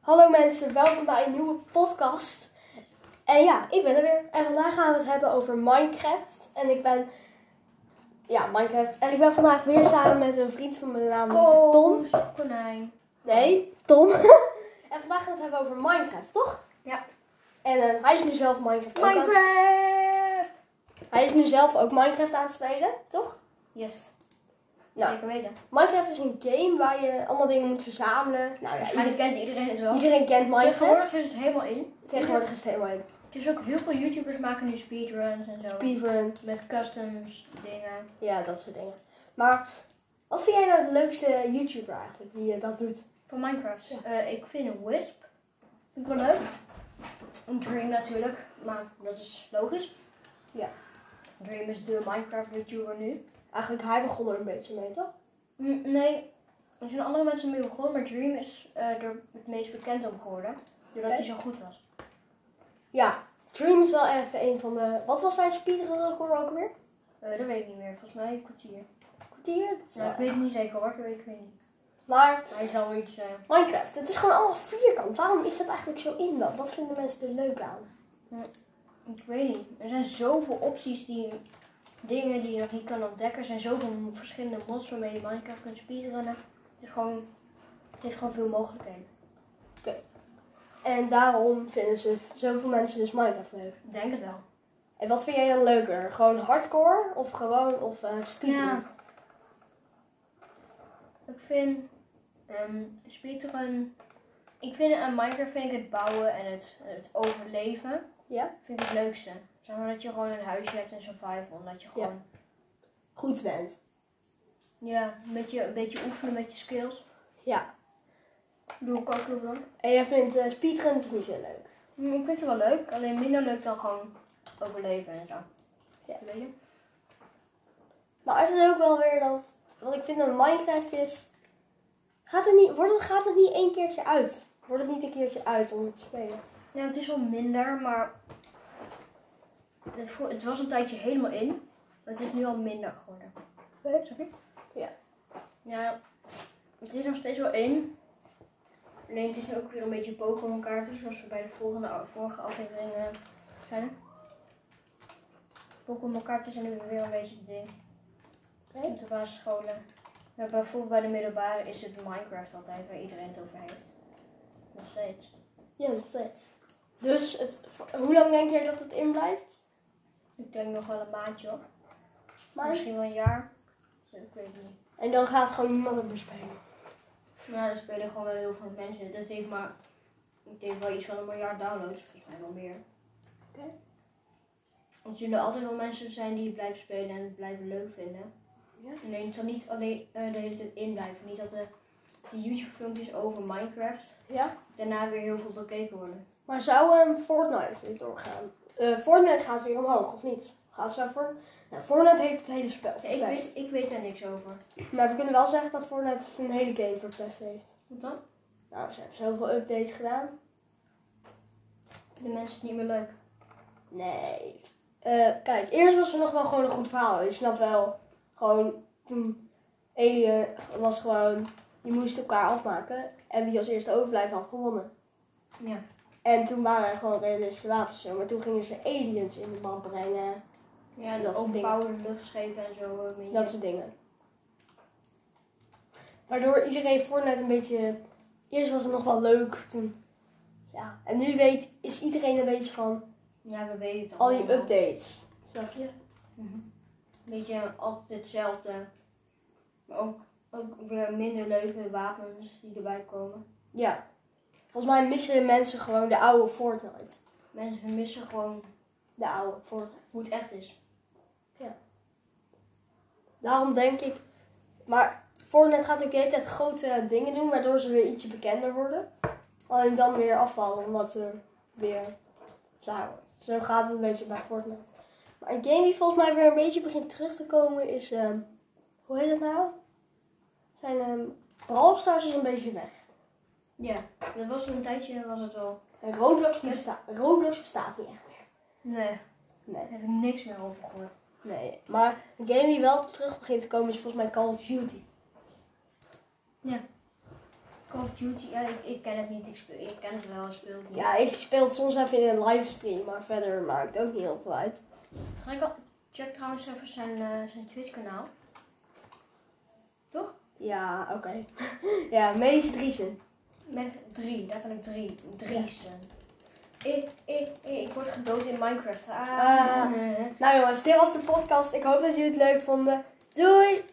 Hallo mensen, welkom bij een nieuwe podcast. En ja, ik ben er weer. En vandaag gaan we het hebben over Minecraft. En ik ben. Ja, Minecraft. En ik ben vandaag weer samen met een vriend van mijn naam Oh. Tom. Koos, konijn. Nee, Tom. en vandaag gaan we het hebben over Minecraft, toch? Ja. En eh, hij is nu zelf Minecraft, Oh, ook aan het- Minecraft! Hij is nu zelf ook Minecraft aan het spelen, toch? Yes, Nou, zeker weten. Minecraft is een game waar je allemaal dingen moet verzamelen. Nou ja, Waarschijnlijk iedereen, kent iedereen het wel. iedereen kent Minecraft. Tegenwoordig is het helemaal in. Tegenwoordig is het helemaal in. Dus ook heel veel YouTubers maken nu speedruns en zo. Speedrun, Met customs dingen. Ja, dat soort dingen. Maar wat vind jij nou de leukste YouTuber eigenlijk die eh, dat doet? Van Minecraft. Ja. Eh, ik vind een Wisp. Vind ik wel leuk. Een Dream natuurlijk. Maar dat is logisch. Ja. Dream is de Minecraft YouTuber nu. Eigenlijk hij begon er een beetje mee, toch? Mm, nee, er zijn andere mensen mee begonnen. Maar Dream is eh, er het meest bekend om geworden. Doordat Oké. hij zo goed was. Ja, Dream is wel even een van de... Wat was zijn speedrun record ook weer? Eh, dat weet ik niet meer. Volgens mij een kwartier. Kwartier? Dat is Nou, wel- ik weet het niet zeker hoor. Ik weet, ik weet niet. Maar Maar hij zal wel iets eh, zijn. Minecraft, het is gewoon allemaal vierkant. Waarom is dat eigenlijk zo in dan? Wat vinden mensen er leuk aan? Ik weet niet. Er zijn zoveel opties die... Dingen die je nog niet kan ontdekken. Er zijn zoveel verschillende mods waarmee je Minecraft kunt speedrunnen. Het is gewoon... Het heeft gewoon veel mogelijkheden. En daarom vinden ze zoveel mensen dus Minecraft leuk. Ik denk het wel. En wat vind jij dan leuker? Gewoon hardcore of gewoon of eh speedrun? Ja. Ik vind... ehm speedrun... Ik vind aan Minecraft vind ik het bouwen en het, het overleven... Ja? vind ik het leukste. Zeg maar dat je gewoon een huisje hebt en survival. En dat je Ja. gewoon... Goed bent. Ja, een beetje, een beetje oefenen met je skills. Ja. Doe ik ook heel veel. En jij vindt eh, speedruns niet zo leuk? Hm, Ik vind het wel leuk, alleen minder leuk dan gewoon overleven en zo. Ja. Weet je? Maar is het ook wel weer dat. Wat ik vind aan Minecraft is. Gaat het niet, wordt het, gaat het niet één keertje uit? Wordt het niet een keertje uit om het te spelen? Nou, het is wel minder, maar het, vo- het was een tijdje helemaal in. Maar het is nu al minder geworden. Snap je? Ja. Ja, het is nog steeds wel in. Alleen het is nu ook weer een beetje Pokémon kaarten, zoals we bij de volgende, vorige aflevering eh, zeiden. Pokémon kaarten zijn nu weer een beetje het ding. Oké. Op de basisscholen. Maar bijvoorbeeld bij de middelbare is het Minecraft altijd, waar iedereen het over heeft. Nog steeds. Ja, nog steeds. Dus het, hoe lang denk jij dat het in blijft? Ik denk nog wel een maandje hoor. Maar, Misschien wel een jaar. Ik weet het niet. en dan gaat gewoon niemand het meer spelen. Maar er spelen gewoon wel heel veel mensen. Dat heeft maar, ik denk wel iets van een miljard downloads. Volgens mij wel meer. Oké. Er zullen altijd wel mensen zijn die het blijven spelen en het blijven leuk vinden. Ja. Alleen het zal niet alleen eh, de hele tijd in blijven. Niet dat de, de YouTube filmpjes over Minecraft Ja? daarna weer heel veel bekeken worden. Maar zou ehm, Fortnite weer doorgaan? Eh, Fortnite gaat weer omhoog, of niet? Gaat zo voor... Nou, Fortnite heeft het hele spel Ja, ik, verpest. weet, ik weet daar niks over. Maar we kunnen wel zeggen dat Fortnite zijn hele game verpest heeft. Wat dan? Nou, ze hebben zoveel updates gedaan. De mensen het niet meer leuk. Nee. Eh, kijk, eerst was er nog wel gewoon een goed verhaal. Je snapt wel, gewoon toen Alien was gewoon, je moest elkaar afmaken. En wie als eerste overblijft had gewonnen. Ja. En toen waren er gewoon realistische wapens. en zo, Maar toen gingen ze aliens in de man brengen. Ja, Dat de soort dingen. overpowered luchtschepen en zo. eh, meer. Dat soort dingen. Waardoor iedereen Fortnite een beetje... Eerst was het nog wel leuk, toen... Ja, en nu weet, is iedereen een beetje van Ja, we weten het al die allemaal. updates. Snap je? Een beetje altijd hetzelfde. Maar ook, ook weer minder leuke wapens die erbij komen. Ja. Volgens mij missen mensen gewoon de oude Fortnite. Mensen missen gewoon De oude Fortnite. hoe het echt is. Daarom denk ik... Maar Fortnite gaat ook de hele tijd grote dingen doen, waardoor ze weer ietsje bekender worden. Alleen dan weer afvallen, omdat er weer saai wordt. Zo gaat het een beetje bij Fortnite. Maar een game die volgens mij weer een beetje begint terug te komen is... ehm, hoe heet dat nou? Zijn ehm Brawl Stars is een beetje weg. Ja, dat was een tijdje was het wel. En Roblox, die besta Roblox bestaat niet echt meer. Nee, Nee. daar heb ik niks meer over gehoord. Nee, maar een game die wel terug begint te komen is volgens mij Call of Duty. Ja. Call of Duty, ja, ik, ik ken het niet. Ik, speel, ik ken het wel, ik speel het niet. Ja, ik speel het soms even in een livestream, maar verder maakt het ook niet heel veel uit. Ga ik al- check trouwens even zijn, eh, zijn Twitch-kanaal. Toch? Ja, oké. ja, meest recent. Met drie, letterlijk drie. Drie zijn. Ik, ik, ik, ik word gedood in Minecraft. Ah. Ah. Nou jongens, dit was de podcast. Ik hoop dat jullie het leuk vonden. Doei!